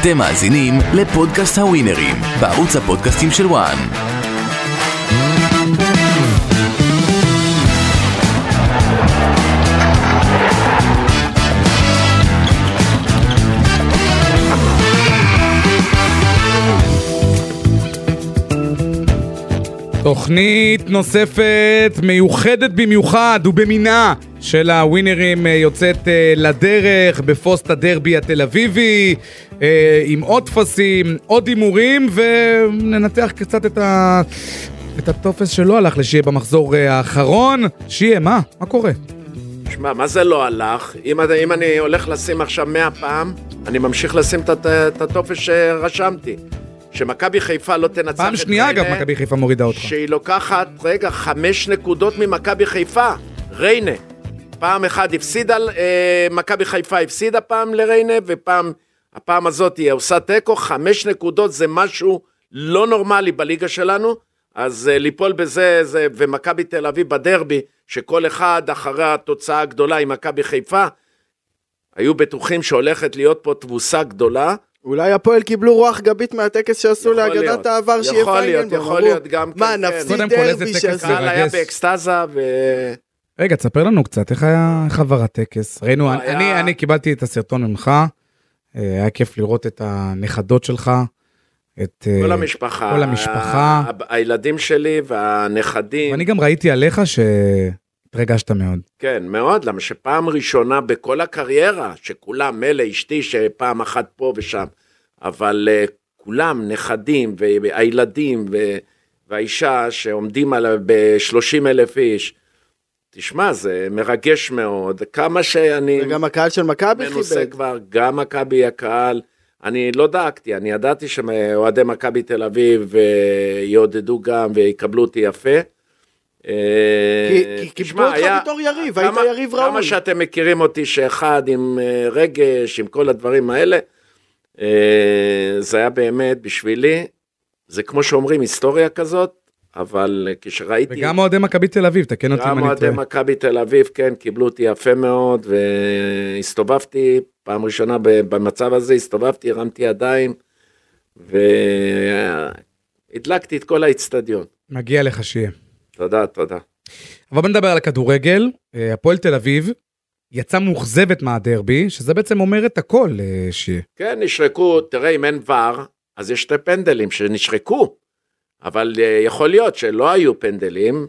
אתם מאזינים לפודקאסט הווינרים, בערוץ הפודקאסטים של וואן. תוכנית נוספת מיוחדת במיוחד ובמינה של הווינרים אה, יוצאת אה, לדרך בפוסט הדרבי התל אביבי אה, עם עוד טפסים, עוד הימורים וננתח קצת את, ה... את הטופס שלא הלך לשיהיה במחזור אה, האחרון. שיהיה, מה? מה קורה? שמע, מה זה לא הלך? אם, אתה- אם אני הולך לשים עכשיו 100 פעם, אני ממשיך לשים את הט- את הטופס שרשמתי. שמכבי חיפה לא תנצח את פעם שנייה אגב ריינה, מכבי חיפה מורידה אותך. נכון. שהיא לוקחת, רגע, חמש נקודות ממכבי חיפה, ריינה. פעם אחת הפסידה, אה, מכבי חיפה הפסידה פעם לריינה, ופעם, הפעם הזאת היא עושה תיקו, חמש נקודות זה משהו לא נורמלי בליגה שלנו, אז אה, ליפול בזה, זה, ומכבי תל אביב בדרבי, שכל אחד אחרי התוצאה הגדולה עם מכבי חיפה, היו בטוחים שהולכת להיות פה תבוסה גדולה. אולי הפועל קיבלו רוח גבית מהטקס שעשו יכול להגדת להיות. העבר שיהיה יכול להיות, פיינגלבום. יכול להיות גם מה, כן, כן. נפסיד קודם כל, איזה דרבי טקס שעשו... זה? הקהל היה מרגש. באקסטזה, ו... רגע, תספר לנו קצת, איך היה, איך עבר הטקס? ראינו, אני, לא היה- אני, אני קיבלתי את הסרטון ממך, אה, היה כיף לראות את הנכדות שלך, את... אה, כל המשפחה. כל המשפחה. ה- ה- הילדים שלי והנכדים. ואני גם ראיתי עליך שהתרגשת מאוד. כן, מאוד, למה שפעם ראשונה בכל הקריירה, שכולם, מילא אשתי שפעם אחת פה ושם, אבל uh, כולם, נכדים והילדים ו- והאישה שעומדים על ב-30 אלף איש, תשמע, זה מרגש מאוד, כמה שאני... וגם הקהל של מכבי מנוסה כיבד. כבר, גם מכבי הקהל. אני לא דאגתי, אני ידעתי שאוהדי מכבי תל אביב אה, יעודדו גם ויקבלו אותי יפה. אה, כי- כי תשמע, קיבלו אותך היה- בתור יריב, היית כמה- יריב כמה ראוי. שאתם מכירים אותי שאחד עם אה, רגש, עם כל הדברים האלה, אה, זה היה באמת בשבילי, זה כמו שאומרים, היסטוריה כזאת, אבל אה, כשראיתי... וגם אוהדי מכבי תל אביב, תקן אותי גם אם אני אוהדי טועה. מכבי תל אביב, כן, קיבלו אותי יפה מאוד, והסתובבתי, פעם ראשונה ב- במצב הזה, הסתובבתי, הרמתי ידיים, והדלקתי את כל האיצטדיון. מגיע לך שיהיה. תודה, תודה. אבל בוא נדבר על הכדורגל. אה, הפועל תל אביב יצאה מאוכזבת מהדרבי, שזה בעצם אומר את הכל, אה, שיהיה. כן, נשרקו, תראה, אם אין ור, אז יש שתי פנדלים שנשרקו, אבל אה, יכול להיות שלא היו פנדלים,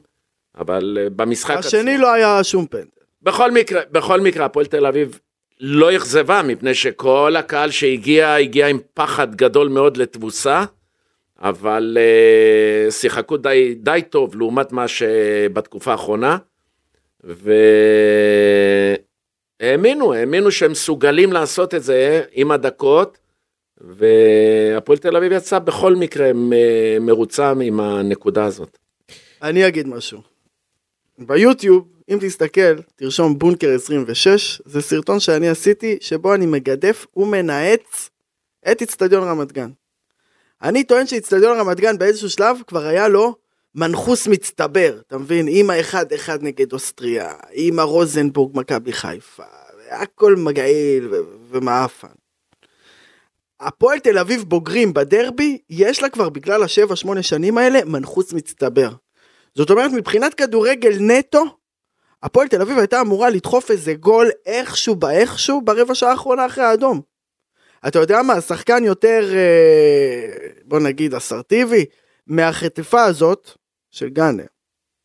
אבל אה, במשחק השני לא היה שום פנדל. בכל מקרה, בכל מקרה, הפועל תל אביב לא אכזבה, מפני שכל הקהל שהגיע, הגיע עם פחד גדול מאוד לתבוסה, אבל uh, שיחקו די, די טוב לעומת מה שבתקופה האחרונה, והאמינו, האמינו שהם מסוגלים לעשות את זה עם הדקות, והפועל תל אביב יצא בכל מקרה אה, מרוצה עם הנקודה הזאת. אני אגיד משהו. ביוטיוב, אם תסתכל, תרשום בונקר 26, זה סרטון שאני עשיתי, שבו אני מגדף ומנאץ את איצטדיון רמת גן. אני טוען שאיצטדיון רמת גן באיזשהו שלב כבר היה לו מנחוס מצטבר, אתה מבין? עם האחד אחד נגד אוסטריה, עם הרוזנבורג מכבי חיפה, הכל מגעיל ו- ומעפן. הפועל תל אביב בוגרים בדרבי, יש לה כבר בגלל השבע שמונה שנים האלה מנחוס מצטבר. זאת אומרת מבחינת כדורגל נטו, הפועל תל אביב הייתה אמורה לדחוף איזה גול איכשהו באיכשהו ברבע שעה האחרונה אחרי האדום. אתה יודע מה, השחקן יותר, אה, בוא נגיד, אסרטיבי, מהחטיפה הזאת של גאנר,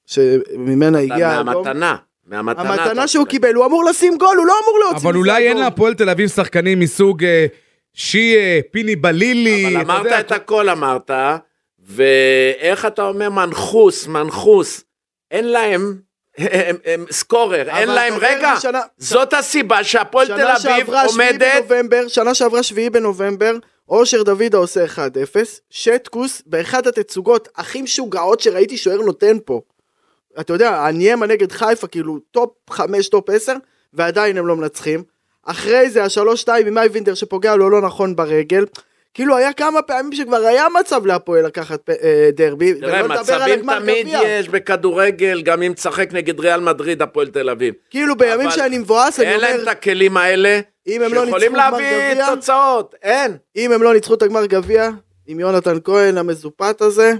שממנה הגיע האדום. מהמתנה, מהמתנה. המתנה אתה שהוא צודק. קיבל, הוא אמור לשים גול, הוא לא אמור להוציא אבל מזה אולי אין גול. להפועל תל אביב שחקנים מסוג אה, שיה, פיני בלילי. אבל אתה אמרת יודע, את הכל אמרת, ואיך אתה אומר מנחוס, מנחוס, אין להם, הם, הם סקורר, אין אבל להם, אתה יודע, רגע, שנה- זאת הסיבה שהפועל תל שנה אביב שעברה שביעי עומדת, בנובמבר, שנה שעברה שביעי בנובמבר, אושר דוידה עושה 1-0, שטקוס באחת התצוגות הכי משוגעות שראיתי שוער נותן פה. אתה יודע, הניימה נגד חיפה, כאילו טופ 5, טופ 10, ועדיין הם לא מנצחים. אחרי זה ה-3-2 עם אייבינדר שפוגע לו לא נכון ברגל. כאילו היה כמה פעמים שכבר היה מצב להפועל לקחת פ- אה, דרבי, תראה, ולא נדבר על מצבים הגמר תמיד גביע. יש בכדורגל, גם אם תשחק נגד ריאל מדריד, הפועל תל אביב. כאילו בימים אבל שאני מבואס, אני אין להם אומר, את הכלים האלה, אם הם לא ניצחו שיכולים גמר להביא גביע, תוצאות, אין. אם הם לא ניצחו את הגמר גביע, עם יונתן כהן המזופת הזה,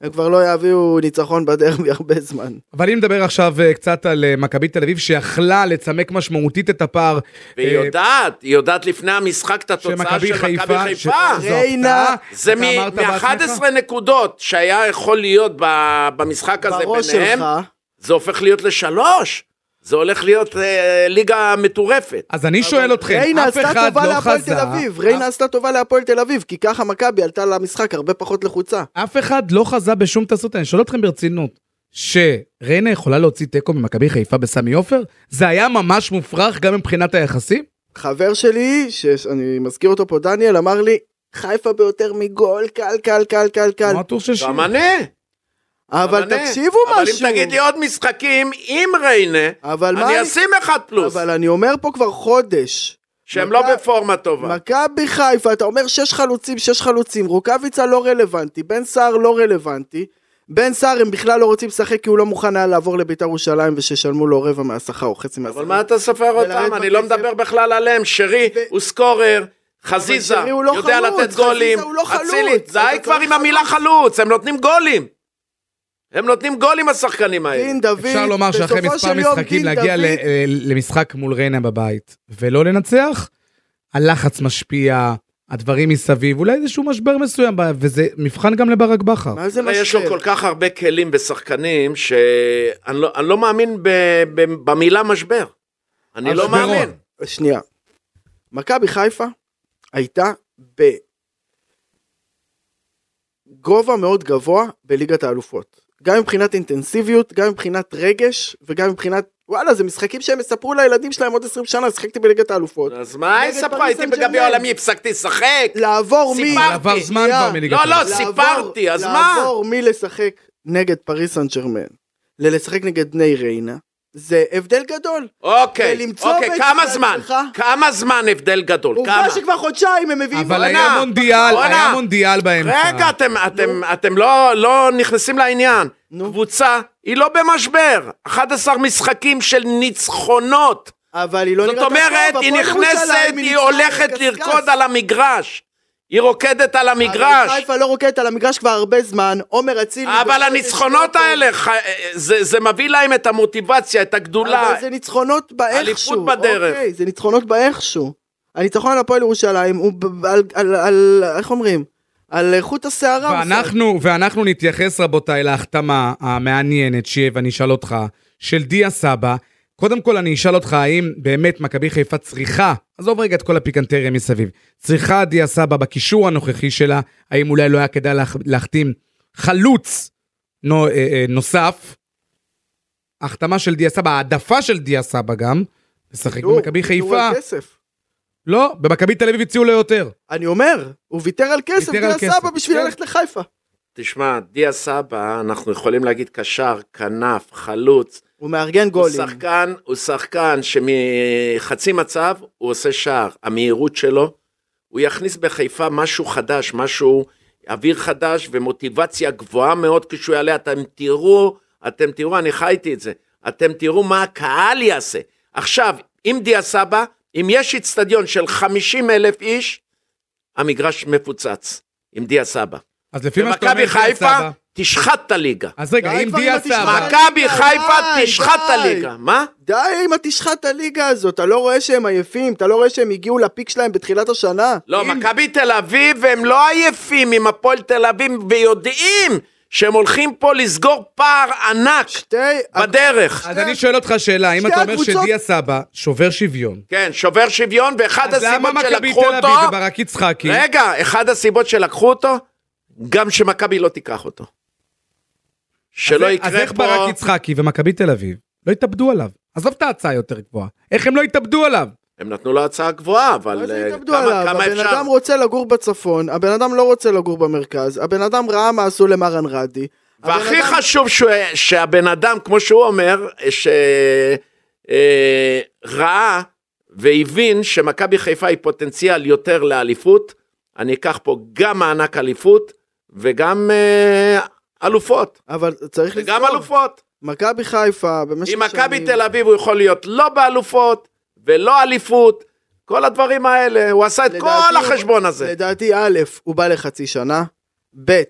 הם כבר לא יביאו ניצחון בדרבי הרבה זמן. אבל אם נדבר עכשיו אה, קצת על אה, מכבי תל אביב, שיכלה לצמק משמעותית את הפער. והיא אה, יודעת, היא יודעת לפני המשחק את התוצאה שמכבי של מכבי חיפה, חיפה. שזו ריינה, הפתעה, זה אתה אמרת בעצמך. מ-11 נקודות שהיה יכול להיות ב- במשחק הזה בראש ביניהם, שלך, זה הופך להיות לשלוש. זה הולך להיות אה, ליגה מטורפת. אז אני שואל אתכם, ריינה אף עשתה אחד טובה לא להפועל תל חזה, אביב, ריינה עשתה טובה להפועל תל אביב, כי ככה מכבי עלתה למשחק הרבה פחות לחוצה. אף אחד לא חזה בשום תסות, אני שואל אתכם ברצינות, שריינה יכולה להוציא תיקו ממכבי חיפה בסמי עופר? זה היה ממש מופרך גם מבחינת היחסים? חבר שלי, שאני מזכיר אותו פה, דניאל, אמר לי, חיפה ביותר מגול, קל, קל, קל, קל, קל. כמו הטור של שיר. גם אני. אבל גם אני. תקשיבו אבל משהו. אם תגיד לי עוד משחקים עם ריינה, אבל מה... אני אשים אחד פלוס, אבל אני אומר פה כבר חודש. שהם מכ- לא בפורמה טובה. מכבי חיפה, אתה אומר שש חלוצים, שש חלוצים, רוקאביצה לא רלוונטי, בן סער לא רלוונטי, בן סער הם בכלל לא רוצים לשחק כי הוא לא מוכן היה לעבור לביתר ירושלים וששלמו לו רבע מהשכר או חצי מהשכר. אבל מה אתה סופר אותם? ולרדת אני לא בכסף. מדבר בכלל עליהם. שרי ו- הוא סקורר, חזיזה, שרי הוא לא יודע חלוץ, לתת גולים. חזיזה הוא לא חלוץ. אצילי, די אתה צריך כבר עם חלוץ. המילה חלוץ, הם נותנים גולים. הם נותנים גולים השחקנים האלה. דין דוד, אפשר לומר שאחרי בסופו מספר של יום משחקים דין להגיע דוד- ל- אה, למשחק מול ריינה בבית ולא לנצח, הלחץ משפיע, הדברים מסביב, אולי איזשהו משבר מסוים, ב- וזה מבחן גם לברק בכר. מה זה הרי יש לו כל משחק? כך הרבה כלים ושחקנים, שאני לא, אני לא מאמין ב, ב, במילה משבר. אני לא משברון. מאמין. שנייה. מכבי חיפה הייתה בגובה מאוד גבוה בליגת האלופות. גם מבחינת אינטנסיביות, גם מבחינת רגש, וגם מבחינת... וואלה, זה משחקים שהם יספרו לילדים שלהם עוד 20 שנה, שיחקתי בליגת האלופות. אז מה היא נגד ספרה? פריס הייתי סן בגביע ג'רמן. העולמי, הפסקתי לשחק. לעבור מ... סיפרתי. עבר זמן שנייה. כבר מליגת לא, העל. לא, לעבור- סיפרתי, אז מה? לעבור מלשחק נגד פריס סן ג'רמן ללשחק נגד בני ריינה, זה הבדל גדול. אוקיי, ולמצוא אוקיי, בעצם כמה את זמן? עצמך. כמה זמן הבדל גדול? כמה? עובדה שכבר חודשיים הם מביאים... אבל עונה. היה עונה, מונדיאל, היה עונה. מונדיאל באמצע. רגע, אתם, אתם, אתם לא, לא נכנסים לעניין. נו. קבוצה היא לא במשבר. 11 משחקים של ניצחונות. אבל היא לא זאת נראית אומרת, טוב, היא הפועל נכנסת, ירושלים, היא ניצחה הולכת בקשקש. לרקוד על המגרש. היא רוקדת על אבל המגרש. חיפה לא רוקדת על המגרש כבר הרבה זמן, עומר אצילי... אבל בחודש הניצחונות לא טוב. האלה, ח- זה זה מביא להם את המוטיבציה, את הגדולה. אבל זה ניצחונות באיכשהו. אליפות בדרך. אוקיי, זה ניצחונות באיכשהו. הניצחון על הפועל ירושלים הוא ב- ב- על, על, על, איך אומרים? על חוט השערה. הוא משחק. ואנחנו, ואנחנו נתייחס, רבותיי, להחתמה המעניינת, שיהיה, ואני אשאל אותך, של דיה סבא. קודם כל, אני אשאל אותך, האם באמת מכבי חיפה צריכה, עזוב רגע את כל הפיקנטריה מסביב, צריכה דיה סבא בקישור הנוכחי שלה, האם אולי לא היה כדאי להח, להחתים חלוץ נו, אה, אה, נוסף? החתמה של דיה סבא, העדפה של דיה סבא גם, לשחק הוא- במכבי לא, הוא חיפה, ויתר על כסף. לא, במכבי תל אביב הציעו לו יותר. אני אומר, הוא ויתר על כסף, ויתר על ויתר כסף, סבא בשביל כן. ללכת לחיפה. תשמע, דיה סבא, אנחנו יכולים להגיד קשר, כנף, חלוץ. הוא מארגן הוא גולים. שחקן, הוא שחקן שמחצי מצב הוא עושה שער. המהירות שלו, הוא יכניס בחיפה משהו חדש, משהו, אוויר חדש ומוטיבציה גבוהה מאוד כשהוא יעלה. אתם תראו, אתם תראו, אני חייתי את זה. אתם תראו מה הקהל יעשה. עכשיו, עם דיה סבא, אם יש איצטדיון של 50 אלף איש, המגרש מפוצץ עם דיה סבא. אז לפי מה שאתה אומר, ומכבי דיה חיפה סבא... תשחט את הליגה. אז רגע, די אם כבר עם דיה התשמע- סבא... מכבי די, חיפה די. תשחט את הליגה. מה? די עם התשחת הליגה הזאת, אתה לא רואה שהם עייפים, אתה לא רואה שהם הגיעו לפיק שלהם בתחילת השנה? לא, מכבי תל אביב הם לא עייפים עם הפועל תל אביב ויודעים שהם הולכים פה לסגור פער ענק שתי... בדרך. אז אני שואל אותך שאלה, האם שתי אתה אומר הקבוצות- שדיה סבא שובר שוויון, כן, שובר שוויון, ואחד אז למה הסיבות מכבי שלקחו תל אותו... אביב וברק יצחקי? רגע, אחד הסיבות שלקחו אותו, גם שמכבי לא תיקח אותו. שלא אז- יקרה אז איך פה... ברק יצחקי ומכבי תל אביב לא התאבדו עליו? עזוב את ההצעה יותר גבוהה, איך הם לא התאבדו עליו? הם נתנו לו הצעה גבוהה, מה אבל זה אה, התאבדו כמה עליו? כמה הבן אפשר? אדם רוצה לגור בצפון, הבן אדם לא רוצה לגור במרכז, הבן אדם ראה מה עשו למרן רדי. הבן והכי אדם- חשוב שהוא, שהבן אדם, כמו שהוא אומר, שראה אה, ראה והבין שמכבי חיפה היא פוטנציאל יותר לאליפות, אני אקח פה גם מענק אליפות וגם אה, אלופות. אבל צריך וגם לזכור, אלופות. מכבי חיפה במשך עם מכבי תל אביב הוא יכול להיות לא באלופות ולא אליפות כל הדברים האלה, הוא עשה את כל החשבון הזה. לדעתי, א', הוא בא לחצי שנה, ב',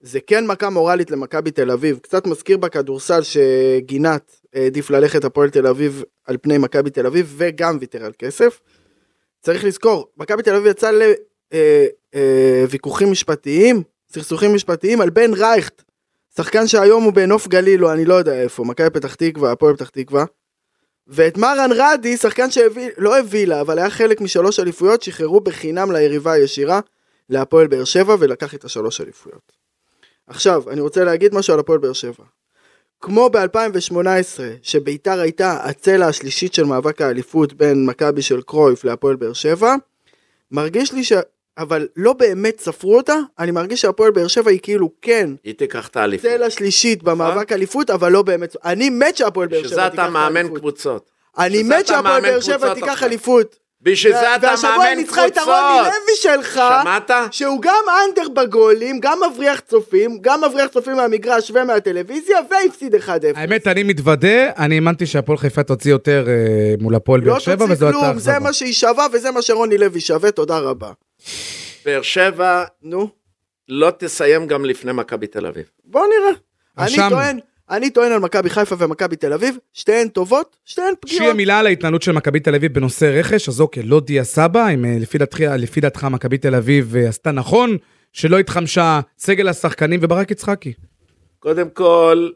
זה כן מכה מורלית למכבי תל אביב, קצת מזכיר בכדורסל שגינת העדיף ללכת הפועל תל אביב על פני מכבי תל אביב, וגם ויתר על כסף. צריך לזכור, מכבי תל אביב יצאה לוויכוחים משפטיים, סכסוכים משפטיים על בן רייכט, שחקן שהיום הוא בנוף גליל, או אני לא יודע איפה, מכבי פתח תקווה, הפועל פתח תקווה. ואת מרן רדי, שחקן שהביא, לא הביא לה, אבל היה חלק משלוש אליפויות, שחררו בחינם ליריבה הישירה, להפועל באר שבע, ולקח את השלוש אליפויות. עכשיו, אני רוצה להגיד משהו על הפועל באר שבע. כמו ב-2018, שביתר הייתה הצלע השלישית של מאבק האליפות בין מכבי של קרויף להפועל באר שבע, מרגיש לי ש... אבל לא באמת ספרו אותה, אני מרגיש שהפועל באר שבע היא כאילו כן היא תיקח את האליפות. צלע שלישית במאבק אליפות, אבל לא באמת... אני מת שהפועל באר אה? שבע תיקח שזה את האליפות. אתה מאמן קבוצות. אני שזה מת אתה שהפועל מאמן באר שבע קבוצות תיקח עכשיו. אליפות. בשביל זה אתה והשבוע היא מאמן ניצחה את הרוני קבוצות. לוי שלך, שמעת? שהוא גם אנדר בגולים, גם מבריח צופים, גם מבריח צופים מהמגרש ומהטלוויזיה, והפסיד 1-0. האמת, אני מתוודה, אני האמנתי שהפועל חיפה תוציא יותר אה, מול הפועל לא באר שבע, תוציא וזו הייתה כלום, זה אכזבה. מה שהיא שווה וזה מה שרוני לוי שווה, תודה רבה. באר שבע נו, לא תסיים גם לפני מכבי תל אביב. בוא נראה. רשמנו. אני טוען, אני טוען על מכבי חיפה ומכבי תל אביב, שתיהן טובות, שתיהן שיהיה פגיעות. מילה על ההתנהלות של מכבי תל אביב בנושא רכש, אז אוקיי, לא דיה סבא, אם אה, לפי דעתך- לפי דעתך מכבי תל אביב אה, עשתה נכון, שלא התחמשה סגל השחקנים וברק יצחקי. קודם כל,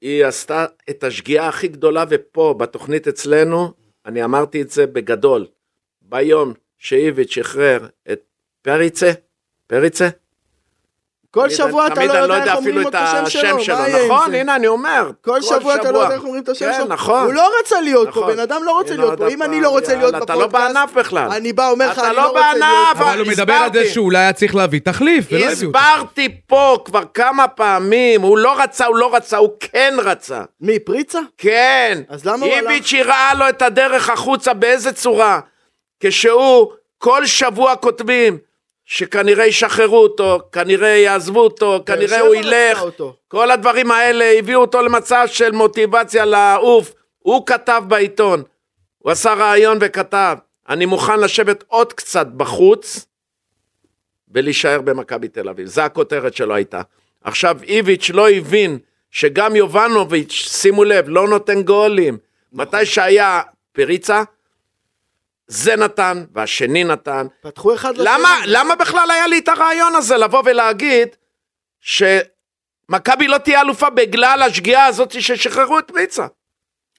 היא עשתה את השגיאה הכי גדולה, ופה, בתוכנית אצלנו, אני אמרתי את זה בגדול. ביום שאיביץ' שחרר את פריצה, פריצה, כל תמיד- שבוע אתה תמיד לא אני יודע איך אומרים אפילו את השם שלו, מה יהיה עם נכון, זה? הנה אני אומר. כל שבוע אתה לא יודע איך אומרים את השם כן, שלו. נכון. הוא לא רצה להיות פה, נכון. בן אדם לא רוצה הנה עוד להיות פה. אם אני הפעם, לא רוצה להיות יאללה, אתה לא בפודקאסט, בענף בכלל. אני בא, אומר לך, אתה אני לא לא רוצה בענף, להיות פה. אבל הוא מדבר על זה הסברתי. שאולי היה צריך להביא תחליף, ולא הביאו אותו. הסברתי פה כבר כמה פעמים, הוא לא רצה, הוא לא רצה, הוא כן רצה. מי, פריצה? כן. אז למה הוא הלך? איביץ' הראה לו את הדרך החוצה, באיזה צורה? כשהוא, כל שבוע כותבים שכנראה ישחררו אותו, כנראה יעזבו אותו, כנראה כן, שבע הוא רצה ילך. אותו. כל הדברים האלה הביאו אותו למצב של מוטיבציה לעוף. הוא כתב בעיתון, הוא עשה ראיון וכתב, אני מוכן לשבת עוד קצת בחוץ ולהישאר במכבי תל אביב. זו הכותרת שלו הייתה. עכשיו איביץ' לא הבין שגם יובנוביץ', שימו לב, לא נותן גולים. נכון. מתי שהיה פריצה, זה נתן, והשני נתן. פתחו אחד לשני. למה, לא. למה בכלל היה לי את הרעיון הזה לבוא ולהגיד שמכבי לא תהיה אלופה בגלל השגיאה הזאת ששחררו את פריצה?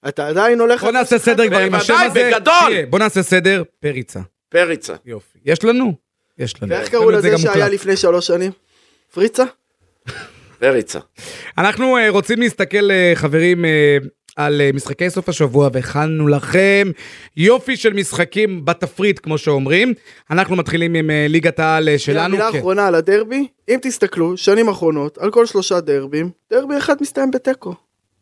אתה עדיין הולך... בוא נעשה סדר כבר עם השם בוודאי, הזה. בגדול. תהיה, בוא נעשה סדר, פריצה. פריצה. יופי. יש לנו? יש לנו. ואיך קראו באמת, זה לזה גם שהיה מוקלט. לפני שלוש שנים? פריצה? פריצה. אנחנו אה, רוצים להסתכל, אה, חברים, אה, על אה, משחקי סוף השבוע, והכנו לכם יופי של משחקים בתפריט, כמו שאומרים. אנחנו מתחילים עם אה, ליגת העל אה, שלנו. מילה כן. אחרונה על הדרבי, אם תסתכלו, שנים אחרונות, על כל שלושה דרבים, דרבי אחד מסתיים בתיקו.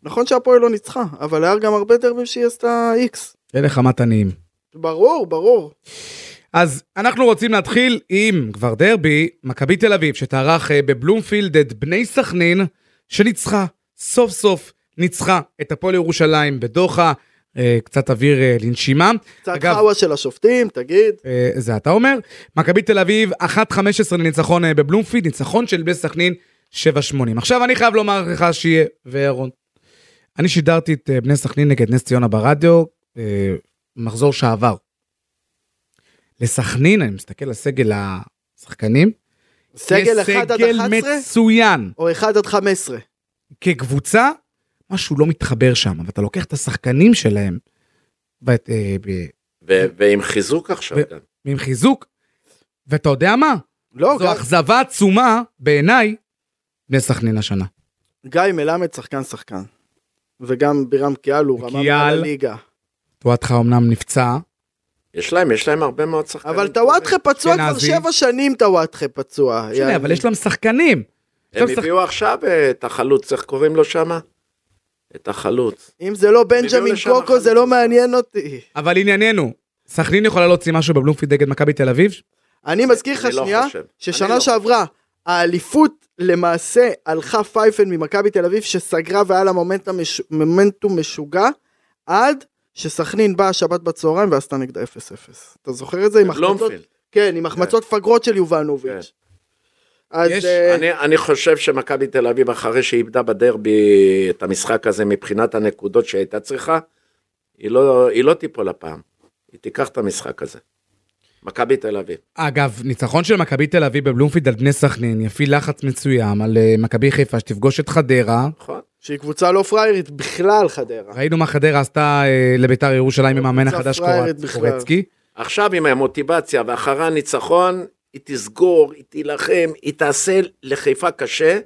נכון שהפועל לא ניצחה, אבל היה גם הרבה דרבים שהיא עשתה איקס. אין לך מתניים. ברור, ברור. אז אנחנו רוצים להתחיל עם כבר דרבי, מכבי תל אביב, שתערך אה, בבלומפילד את בני סכנין, שניצחה, סוף סוף ניצחה את הפועל ירושלים בדוחה, אה, קצת אוויר אה, לנשימה. קצת אגב, חאווה של השופטים, תגיד. אה, זה אתה אומר. מכבי תל אביב, 1-15 לניצחון אה, בבלומפילד, ניצחון של בני סכנין, 7-80. עכשיו אני חייב לומר לך שיהיה, ואהרון, אני שידרתי את אה, בני סכנין נגד נס ציונה ברדיו, אה, מחזור שעבר. לסכנין, אני מסתכל על סגל השחקנים, סגל יש 1 עד סגל 11 מצוין. או 1 עד 15? כקבוצה, משהו לא מתחבר שם, ואתה לוקח את השחקנים שלהם, ואת, אה, ב- ו- ועם חיזוק עכשיו ו- גם. עם חיזוק, ואתה יודע מה? לא, זו אכזבה עצומה בעיניי בני סכנין השנה. גיא מלמד שחקן שחקן. וגם בירם קיאל הוא רמה קיאל. מעל הליגה. טואטחה אמנם נפצע, יש להם, יש להם הרבה מאוד שחקנים. אבל טוואטחה פצוע כבר אשכנזי. שבע שנים טוואטחה פצוע. שני, יאללה. אה, לא אבל יש להם שחקנים. הם עכשיו הביאו עכשיו אה, את החלוץ, איך קוראים לו שמה? את החלוץ. אם זה לא בנג'מין לשם קוקו זה החלוץ. לא מעניין אותי. אבל ענייננו, סכנין יכולה להוציא משהו בבלומפילד נגד מכבי תל אביב? אני מזכיר לך אני לא שנייה, חושב. אני ששנה לא. שעברה האליפות למעשה הלכה פייפן ממכבי תל אביב שסגרה והיה לה מומנטום מש- מומנטום משוגע עד שסכנין באה שבת בצהריים ועשתה נגדה 0-0. אתה זוכר את זה? לא עם החמצות? בלומפילד. כן, עם החמצות פגרות של יובנוביץ'. אז... כן. יש- אה, אני, אני חושב שמכבי תל אביב, אחרי שהיא איבדה בדרבי את המשחק הזה מבחינת הנקודות שהיא הייתה צריכה, היא לא, היא לא תיפול הפעם. היא תיקח את המשחק הזה. מכבי תל אביב. אגב, ניצחון של מכבי תל אביב בבלומפילד על בני סכנין יפעיל לחץ מסוים על אה, מכבי חיפה שתפגוש את חדרה. נכון? שהיא קבוצה לא פראיירית בכלל, חדרה. ראינו מה חדרה עשתה אה, לביתר ירושלים עם המאמן קבוצה החדש פראיירית קורצ- בכלל. קורצקי. עכשיו עם המוטיבציה ואחרי הניצחון, היא תסגור, היא תילחם, היא תעשה לחיפה קשה,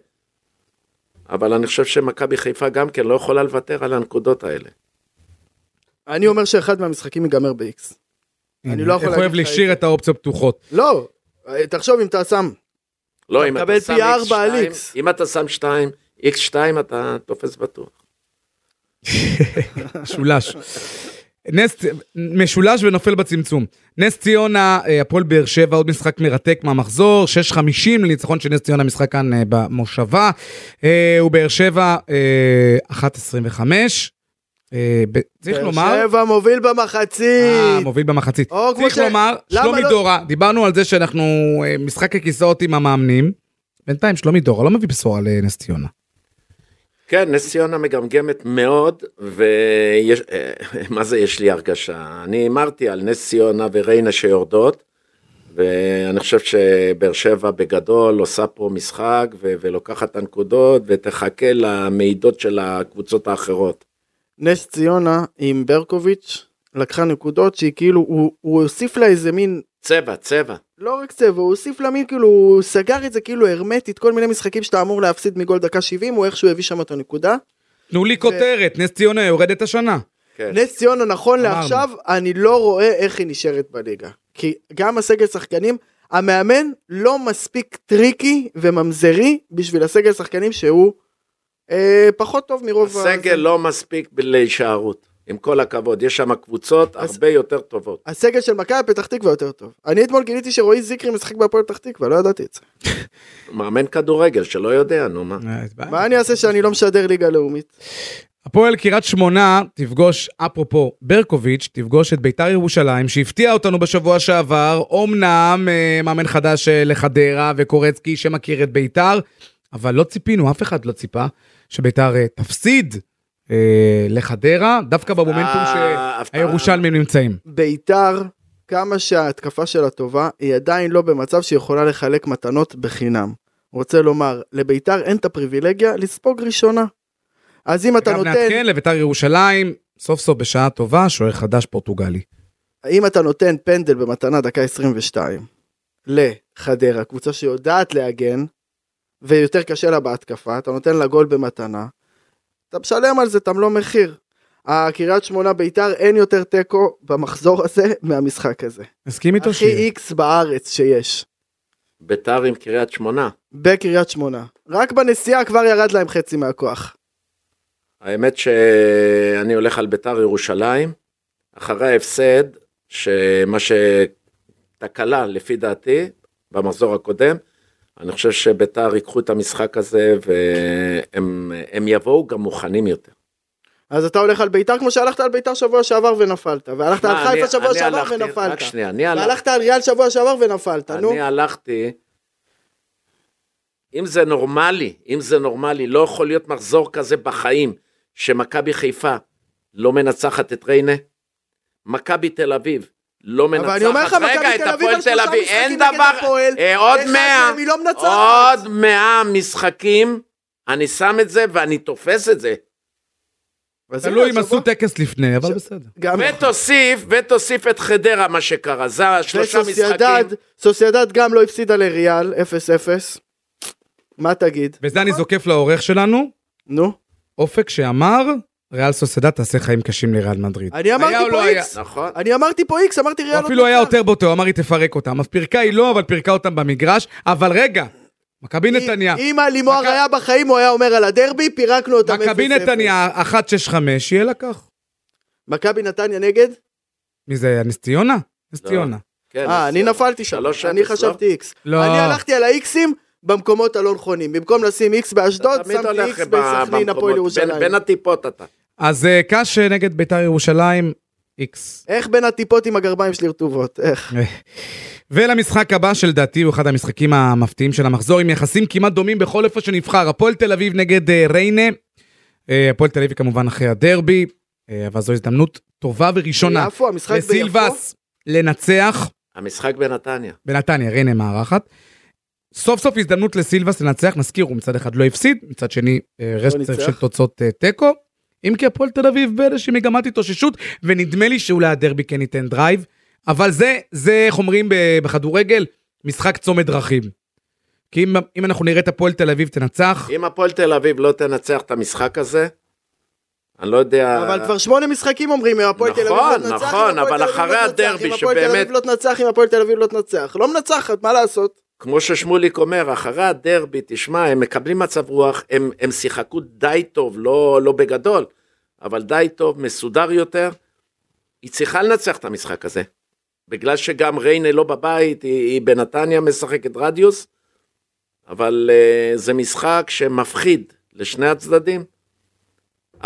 אבל אני חושב שמכבי חיפה גם כן לא יכולה לוותר על הנקודות האלה. אני אומר שאחד מהמשחקים ייגמר ב-X. אני לא יכול איך אוהב להגיד לך לשיר את האופציות פתוחות. לא, אה, תחשוב אם אתה שם. לא, אתה אם מקבל אתה שם פי ארבע על X2, X. אם אתה שם 2, X2 אתה תופס בטוח. משולש. נס, משולש ונופל בצמצום. נס ציונה, אה, הפועל באר שבע, עוד משחק מרתק מהמחזור, 6.50 לניצחון של נס ציונה, משחק כאן אה, במושבה. אה, ובאר שבע, אה, 1.25. אה, ב- צריך לומר, באר שבע מוביל אה, במחצית. מוביל במחצית. או, כמו צריך ש- לומר, למה שלומי לא- דורה, דיברנו על זה שאנחנו אה, משחק הכיסאות עם המאמנים. בינתיים שלומי דורה לא מביא בשורה לנס ציונה. כן, נס ציונה מגמגמת מאוד, ויש, אה, מה זה יש לי הרגשה? אני אמרתי על נס ציונה וריינה שיורדות, ואני חושב שבאר שבע בגדול עושה פה משחק ו- ולוקחת את הנקודות ותחכה למעידות של הקבוצות האחרות. נס ציונה עם ברקוביץ' לקחה נקודות שהיא כאילו, הוא- הוא הוסיף לה איזה מין צבע, צבע. לא רק צבע, הוא הוסיף לה מין כאילו, הוא סגר את זה כאילו הרמטית, כל מיני משחקים שאתה אמור להפסיד מגול דקה 70, הוא איכשהו הביא שם את הנקודה. תנו לי כותרת, נס ציונה יורדת השנה. כן. נס ציונה נכון אמרנו. לעכשיו, אני לא רואה איך היא נשארת בליגה. כי גם הסגל שחקנים, המאמן לא מספיק טריקי וממזרי בשביל הסגל שחקנים שהוא אה, פחות טוב מרוב... ה- הסגל לא מספיק ב- להישארות, עם כל הכבוד, יש שם קבוצות אז- הרבה יותר טובות. הסגל של מכבי פתח תקווה יותר טוב. אני אתמול גיליתי שרועי זיקרי משחק בהפועל פתח תקווה, לא ידעתי את זה. מאמן כדורגל שלא יודע, נו מה. אה, מה אני אעשה שאני לא משדר ליגה לאומית? הפועל קריית שמונה תפגוש, אפרופו ברקוביץ', תפגוש את ביתר ירושלים, שהפתיע אותנו בשבוע שעבר, אומנם אה, מאמן חדש אה, לחדרה וקורצקי שמכיר את ביתר, אבל לא ציפינו, אף אחד לא ציפה, שביתר אה, תפסיד אה, לחדרה, דווקא במומנטום אה, הפתעה. שהירושלמים נמצאים. ביתר, כמה שההתקפה שלה טובה, היא עדיין לא במצב שהיא יכולה לחלק מתנות בחינם. רוצה לומר, לביתר אין את הפריבילגיה לספוג ראשונה. אז אם אתה אגב, נותן, נעדכן לביתר ירושלים, סוף סוף בשעה טובה, שוער חדש פורטוגלי. אם אתה נותן פנדל במתנה דקה 22 לחדרה, קבוצה שיודעת להגן, ויותר קשה לה בהתקפה, אתה נותן לה גול במתנה, אתה משלם על זה, אתה מלוא מחיר. הקריית שמונה ביתר אין יותר תיקו במחזור הזה מהמשחק הזה. מסכים איתו שיר? הכי איקס בארץ שיש. ביתר עם קריית שמונה. בקריית שמונה. רק בנסיעה כבר ירד להם חצי מהכוח. האמת שאני הולך על ביתר ירושלים, אחרי ההפסד, שמה שתקלה לפי דעתי, במחזור הקודם, אני חושב שביתר ייקחו את המשחק הזה והם הם יבואו גם מוכנים יותר. אז אתה הולך על ביתר כמו שהלכת על ביתר שבוע שעבר ונפלת, והלכת על מה, אני- חיפה שבוע אני שעבר הלכתי- רק ונפלת, שנייה, אני הלכתי, והלכת על ריאל שבוע שעבר ונפלת, נו. אני הלכתי, אם זה נורמלי, אם זה נורמלי, לא יכול להיות מחזור כזה בחיים, שמכבי חיפה לא מנצחת את ריינה, מכבי תל אביב לא מנצחת, אבל אני אומר לך, רגע, מכבי את תל אביב הפועל על שלושה משחקים אין נגד דבר, הפועל, אה, עוד אחד מאה, מהם היא לא מנצחת. עוד מאה משחקים, אני שם את זה ואני תופס את זה, אז הנה, תלוי אם השבוע- עשו טקס לפני, אבל בסדר. גם ותוסיף, ותוסיף את חדרה מה שקרה, זה השלושה וסוסיידד, משחקים, סוסיידד גם לא הפסידה לריאל, 0-0. מה תגיד? וזה אני זוקף לעורך שלנו, נו. אופק שאמר, ריאל סוסיידד תעשה חיים קשים לריאל מדריד. אני לא אמרתי היה או פה לא היה? איקס. נכון, אני אמרתי פה איקס, אמרתי הוא ריאל... אפילו עוד היה תנצח. יותר באותו, הוא אמר היא תפרק אותם. אז פירקה היא לא, אבל פירקה אותם במגרש. אבל רגע, מכבי נתניה. אם הלימואר מכ- היה בחיים, הוא היה אומר על הדרבי, פירקנו אותם 0-0. מכבי נתניה 165, יהיה לה כך. מכבי נתניה נגד? מי זה היה? נס ציונה? נס לא. ציונה. כן, אה, אני נפלתי שם, שלוש אני אפס, לא? חשבתי איקס. לא. אני הלכתי על האיקסים במקומות הלא נכונים. במקום לשים איקס באשדוד, אתה תמיד שמתי הולך איקס ב- בסכנין, הפועל במקומות, בין- ירושלים. בין הטיפות אתה. אז אה, קאש אה, נגד ביתר ירושלים, איקס. איך בין הטיפות עם הגרביים שלי רטובות? איך? ולמשחק הבא שלדעתי הוא אחד המשחקים המפתיעים של המחזור עם יחסים כמעט דומים בכל איפה שנבחר. הפועל תל אביב נגד אה, ריינה. אה, הפועל תל אביב כמובן אחרי הדרבי, אה, אבל זו הזדמנות טובה וראשונה ביפו, המשחק ביפו. לסילבס לנצח המשחק בנתניה. בנתניה, ריינה מארחת. סוף סוף הזדמנות לסילבס לנצח, נזכיר, הוא מצד אחד לא הפסיד, מצד שני אה, רצף לא ניצח. של תוצאות אה, תיקו. אם כי הפועל תל אביב באיזושהי מגמת התאוששות, ונדמה לי שאולי הדרבי כן ייתן דרייב, אבל זה, זה איך אומרים ב- בכדורגל, משחק צומת דרכים. כי אם, אם אנחנו נראה את הפועל תל אביב תנצח, אם הפועל תל אביב לא תנצח את המשחק הזה, אני לא יודע... אבל כבר שמונה משחקים אומרים, אם הפועל תל אביב לא נכון, תנצח, אם נכון, הפועל אבל תל אביב אחרי לא תנצח, הדרבי אם הפועל תל אביב שבאמת- לא תנצח, אם הפועל תל אביב לא תנצח. לא מנצחת, מה לעשות? כמו ששמוליק אומר, אחרי הדרבי, תשמע, הם מקבלים מצב רוח, הם, הם שיחקו די טוב, לא, לא בגדול, אבל די טוב, מסודר יותר. היא צריכה לנצח את המשחק הזה. בגלל שגם ריינה לא בבית, היא, היא בנתניה משחקת רדיוס, אבל uh, זה משחק שמפחיד לשני הצדדים.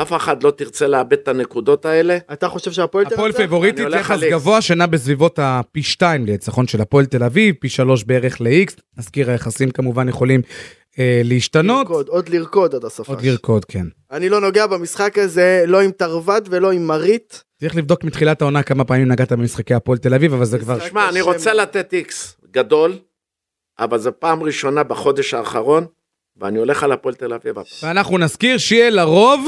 אף אחד לא תרצה לאבד את הנקודות האלה. אתה חושב שהפועל תנצח? הפועל פבוריטית אני הולך יחס על איקס. גבוה שנע בסביבות הפי 2 לניצחון של הפועל תל אביב, פי 3 בערך ל-X, נזכיר היחסים כמובן יכולים אה, להשתנות, לרקוד, עוד לרקוד עד הסוף. עוד לרקוד כן. אני לא נוגע במשחק הזה, לא עם תרווד ולא עם מרית. צריך לבדוק מתחילת העונה כמה פעמים נגעת במשחקי הפועל תל אביב, אבל זה כבר... משחק- תשמע, אני השם. רוצה לתת איקס גדול, אבל זו פעם ראשונה בחודש האחרון, ואני הולך על הפועל תל אביב. הפעם. ואנחנו נזכיר שיהיה לרוב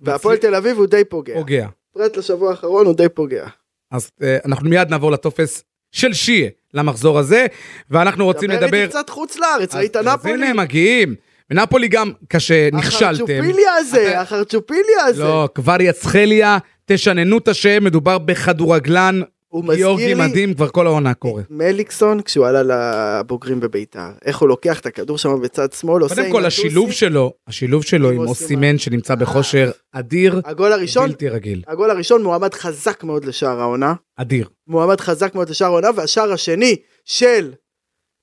והפועל תל אביב הוא די פוגע. פוגע. פרט לשבוע האחרון הוא די פוגע. אז אה, אנחנו מיד נעבור לטופס של שיה למחזור הזה, ואנחנו רוצים דבר לדבר... איתי קצת חוץ לארץ, ראית אז- אז נפולי? הנה הם מגיעים. ונפולי גם כשנכשלתם. החרצ'ופיליה הזה, אתה- החרצ'ופיליה הזה. לא, כבר יצחליה, תשננו את השם, מדובר בכדורגלן. הוא מזכיר גיאורגי לי- מדהים, כבר כל העונה קורה. מליקסון, כשהוא עלה לבוגרים בביתר, איך הוא לוקח את הכדור שם בצד שמאל, עושה קודם עם כל, השילוב הטוסי. שלו, השילוב שלו עם עם אוסימן. אוסימן, שנמצא בכושר אדיר, הגול הראשון, בלתי רגיל. הגול הראשון מועמד חזק מאוד לשער העונה, אדיר. מועמד חזק מאוד לשער העונה, והשער השני של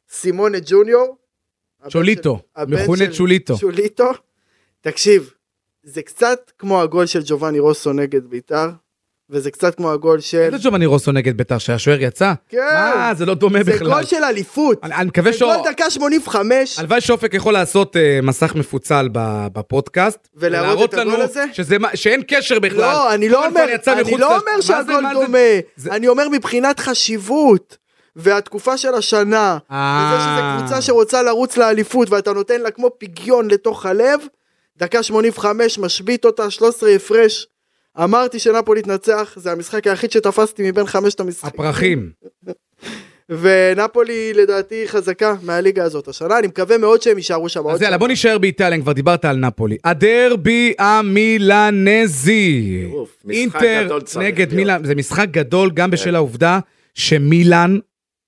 סימונה ג'וניור. הבן צ'וליטו, של- הבן מכונה של צ'וליטו. צ'וליטו. תקשיב, זה קצת כמו הגול של ג'ובאני רוסו נגד ביתר, וזה קצת כמו הגול של... איזה ג'ובאני רוסו נגד ביתר שהשוער יצא? כן. מה, זה לא דומה זה בכלל. גול של אליפות. אני אני מקווה זה ש... גול דקה 85. הלוואי שאופק יכול לעשות אה, מסך מפוצל ב- בפודקאסט. ולהראות ולהראות את הגול לנו הזה? שזה מה- שאין קשר בכלל. לא, אני לא אבל אומר, כבר יצא אני מחוץ לא לש- אומר מה זה- שהגול מה זה- דומה, זה- אני אומר מבחינת חשיבות. והתקופה של השנה, אה. וזה שזו קבוצה שרוצה לרוץ לאליפות ואתה נותן לה כמו פיגיון לתוך הלב, דקה 85 משבית אותה, 13 הפרש. אמרתי שנפולי תנצח, זה המשחק היחיד שתפסתי מבין חמשת המשחקים. הפרחים. ונפולי לדעתי חזקה מהליגה הזאת השנה, אני מקווה מאוד שהם יישארו שם. עוד אז יאללה, שנה. בוא נישאר באיטליה, אם כבר דיברת על נפולי. הדרבי המילנזי. טירוף, משחק אינטר גדול צריך נגד להיות. כן. מילאן, זה משחק גדול גם בשל העובדה שמילאן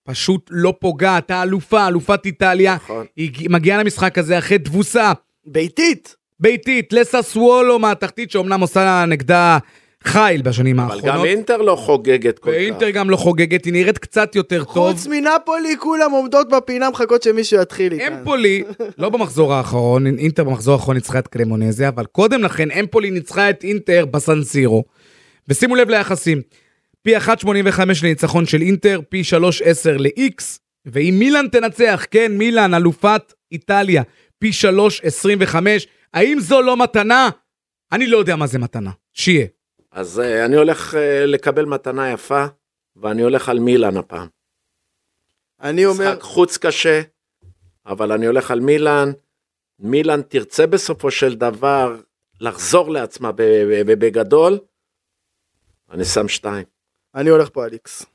פשוט לא פוגעת, האלופה, אלופת איטליה. נכון. היא הג- מגיעה למשחק הזה אחרי תבוסה ביתית, ביתית לססוולו מהתחתית, שאומנם עושה נגדה חיל בשנים אבל גם האחרונות. אינטר לא חוגגת כל כך. ואינטר גם לא חוגגת, היא נראית קצת יותר טוב. חוץ מנפולי כולם עומדות בפינה מחכות שמישהו יתחיל איתן. אמפולי, לא במחזור האחרון, אינטר במחזור האחרון ניצחה את קרמונזה, אבל קודם לכן אמפולי ניצחה את אינטר בסנסירו. ושימו לב ליחסים, פי 1.85 לניצחון של אינטר, פי 3.10 ל-X, ואם מילאן תנצח, כן, מילאן, אלופת איטליה, פי 3.25, האם זו לא מתנה? אני לא יודע מה זה מתנה. שיהיה. אז אה, אני הולך אה, לקבל מתנה יפה, ואני הולך על מילאן הפעם. אני אומר, משחק חוץ קשה, אבל אני הולך על מילאן. מילאן תרצה בסופו של דבר לחזור לעצמה ב- ב- ב- בגדול. אני שם שתיים. אני הולך פה על איקס.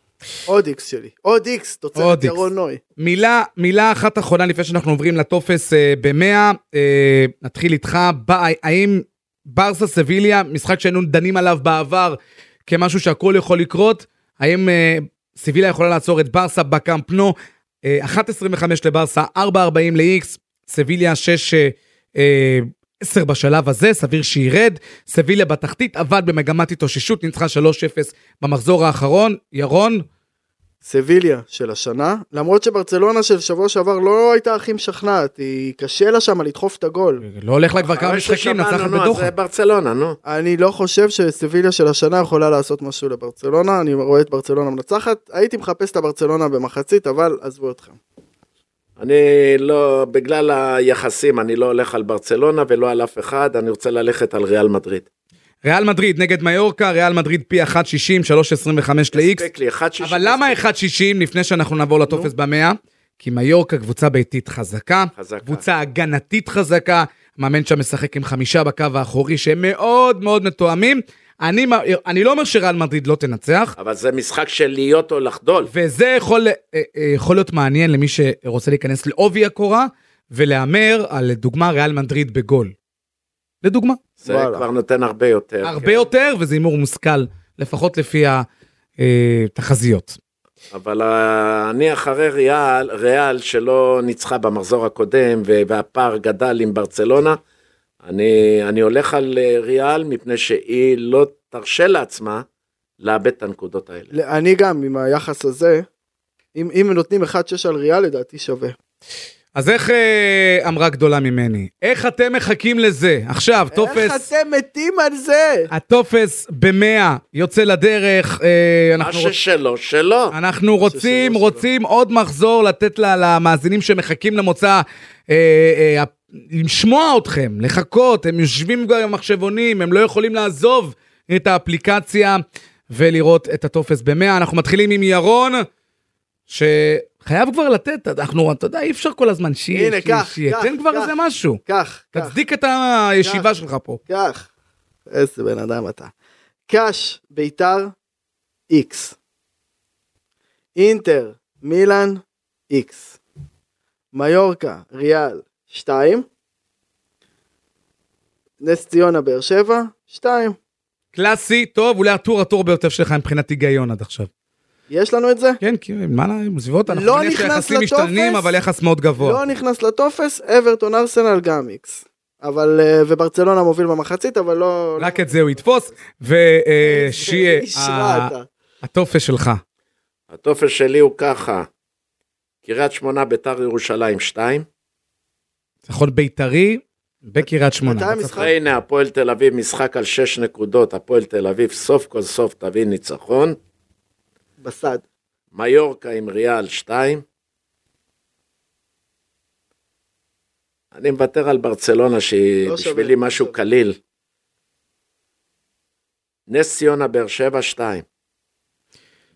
עוד איקס שלי. עוד איקס, עוד תוצרת איקס. ירון נוי. מילה, מילה אחת אחרונה לפני שאנחנו עוברים לטופס אה, במאה, אה, נתחיל איתך, ב, האם ברסה סביליה, משחק שהיינו דנים עליו בעבר כמשהו שהכל יכול לקרות, האם אה, סביליה יכולה לעצור את ברסה בקאמפ נו, אה, 1.25 לברסה, 4.40 ל-X, סביליה 6, אה, אה, 10 בשלב הזה, סביר שירד, סביליה בתחתית, אבל במגמת התאוששות, ניצחה 3-0 במחזור האחרון, ירון, סביליה של השנה, למרות שברצלונה של שבוע שעבר לא הייתה הכי משכנעת, היא קשה לה שם לדחוף את הגול. לא הולך לה כבר כמה משחקים, נצחת בדוחה. זה אה, ברצלונה, נו. אני לא חושב שסביליה של השנה יכולה לעשות משהו לברצלונה, אני רואה את ברצלונה מנצחת, הייתי מחפש את הברצלונה במחצית, אבל עזבו אתכם. אני לא, בגלל היחסים, אני לא הולך על ברצלונה ולא על אף אחד, אני רוצה ללכת על ריאל מדריד. ריאל מדריד נגד מיורקה, ריאל מדריד פי 1.60, 3.25 ל-X. הספק לי, 1.60. אבל למה 1.60 לפני שאנחנו נעבור לטופס במאה? כי מיורקה קבוצה ביתית חזקה, חזקה. קבוצה הגנתית חזקה, מאמן שם משחק עם חמישה בקו האחורי שהם מאוד מאוד מתואמים. אני, מ- אני לא אומר שריאל מדריד לא תנצח, אבל זה משחק של להיות או לחדול. וזה יכול, אה, אה, יכול להיות מעניין למי שרוצה להיכנס לעובי הקורה ולהמר על לדוגמה ריאל מדריד בגול. לדוגמה. זה וואלה. כבר נותן הרבה יותר. הרבה כן. יותר, וזה הימור מושכל, לפחות לפי אה, התחזיות. אבל אה, אני אחרי ריאל, ריאל שלא ניצחה במחזור הקודם, ו- והפער גדל עם ברצלונה. אני, אני הולך על אה, ריאל מפני שהיא לא תרשה לעצמה לאבד את הנקודות האלה. ל- אני גם, עם היחס הזה, אם, אם נותנים 1-6 על ריאל, לדעתי שווה. אז איך אה, אמרה גדולה ממני? איך אתם מחכים לזה? עכשיו, איך טופס, אתם מתים על זה? הטופס במאה יוצא לדרך, אה, מה אנחנו רוצים... ששלו, שלו. אנחנו רוצים, שלא, רוצים עוד מחזור לתת לה- למאזינים שמחכים למוצא, אה, אה, לשמוע אתכם, לחכות, הם יושבים גם עם המחשבונים, הם לא יכולים לעזוב את האפליקציה ולראות את הטופס במאה. אנחנו מתחילים עם ירון, שחייב כבר לתת, אנחנו, אתה יודע, אי אפשר כל הזמן שיהיה, הנה, שיהיה, קח, שיהיה, קח, תן כבר קח. איזה משהו. קח, קח. תצדיק את הישיבה קח. שלך פה. קח. איזה בן אדם אתה. קאש, ביתר, איקס. אינטר, מילאן, איקס. מיורקה, ריאל, שתיים. נס ציונה, באר שבע, שתיים. קלאסי, טוב, אולי הטור הטור ביותר שלך מבחינת היגיון עד עכשיו. יש לנו את זה? כן, כי מה, לה- בסביבות, אנחנו לא מבינים נכנס שהיחסים לטופס. משתנים, אבל יחס מאוד גבוה. לא נכנס לטופס, אברטון ארסנל גם איקס. אבל, אה, וברצלונה מוביל במחצית, אבל לא... רק את זה הוא יתפוס, ושיהיה אה, איש רע אתה. הטופס שלך. הטופס שלי הוא ככה, קריית שמונה, ביתר ירושלים 2, נכון, בית"רי בקריית שמונה. מתי לא המשחק? צריך- ריינה, הפועל תל אביב, משחק על 6 נקודות, הפועל תל אביב סוף כל סוף תביא ניצחון, בסד. מיורקה עם ריאל 2. אני מוותר על ברצלונה שהיא לא שווה, בשבילי לא משהו שווה. קליל. נס ציונה, באר שבע 2.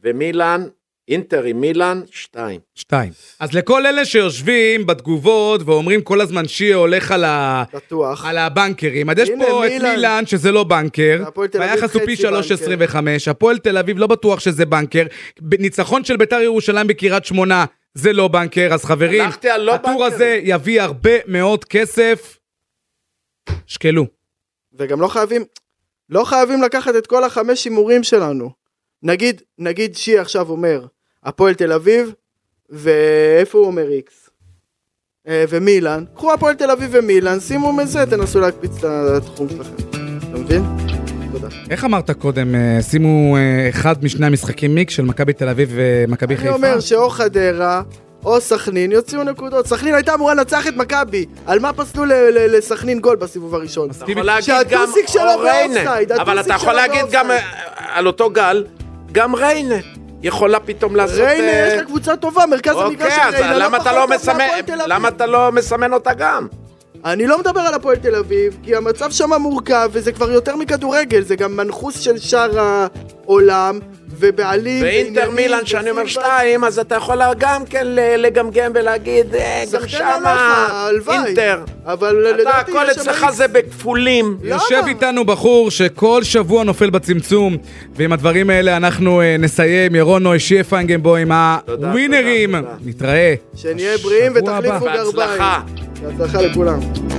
ומילאן, אינטר עם מילאן 2. שתיים. אז לכל אלה שיושבים בתגובות ואומרים כל הזמן שיה הולך על ה... בטוח. על הבנקרים, אז יש הנה, פה את מילאן. מילאן שזה לא בנקר, והפועל תל אביב והיחס הוא פי חצי בנקר. 3.25, הפועל תל אביב לא בטוח שזה בנקר, ב- ניצחון של ביתר ירושלים בקריית שמונה זה לא בנקר, אז חברים, הלכתי על לא הטור בנקרים. הזה יביא הרבה מאוד כסף, שקלו. וגם לא חייבים, לא חייבים לקחת את כל החמש הימורים שלנו. נגיד, נגיד שי עכשיו אומר, הפועל תל אביב, ואיפה הוא אומר איקס? אה, ומילאן, קחו הפועל תל אביב ומילאן, שימו מזה, תנסו להקפיץ את התחום שלכם. אתה מבין? תודה. איך אמרת קודם, אה, שימו אה, אחד משני המשחקים מיק של מכבי תל אביב ומכבי אני חיפה? אומר שאו חדרה, או סכנין יוציאו נקודות. סכנין הייתה אמורה לנצח את מכבי. על מה פסלו ל- ל- לסכנין גול בסיבוב הראשון? אתה יכול להגיד גם שהטוסיק שלו או ריינה, באופסייד, אבל אתה הטוסיק יכול שלו להגיד גם באופסייד. אה, על אותו גל, גם ריינה יכולה פתאום לעשות... ריינה אה, יש לה קבוצה טובה, מרכז המגרש אוקיי, של אז ריינה, לא למה פחות אתה לא טוב מסמן, מהפועל תל אביב. למה אתה לא מסמן אותה גם? אני לא מדבר על הפועל תל אביב, כי המצב שם מורכב, וזה כבר יותר מכדורגל, זה גם מנחוס של שאר העולם, ובעלים... ואינטר ועניינים, מילאן, שאני אומר וסילבה. שתיים, אז אתה יכול גם כן ל- לגמגם ולהגיד, אה, גם סחטיין שמה, עליך, הלוואי. אינטר. אבל אתה, לדעתי... הכל יש שם אצלך איקס. זה בכפולים. למה? יושב איתנו בחור שכל שבוע נופל בצמצום, ועם הדברים האלה אנחנו אה, נסיים. ירון נוי שיהיה פיינגנבוים, תודה, הווינרים. תודה, תודה. נתראה. שנהיה בריאים בשבוע הבא. ותחליפו גרביים. בהצלחה. בהצלחה לכולם.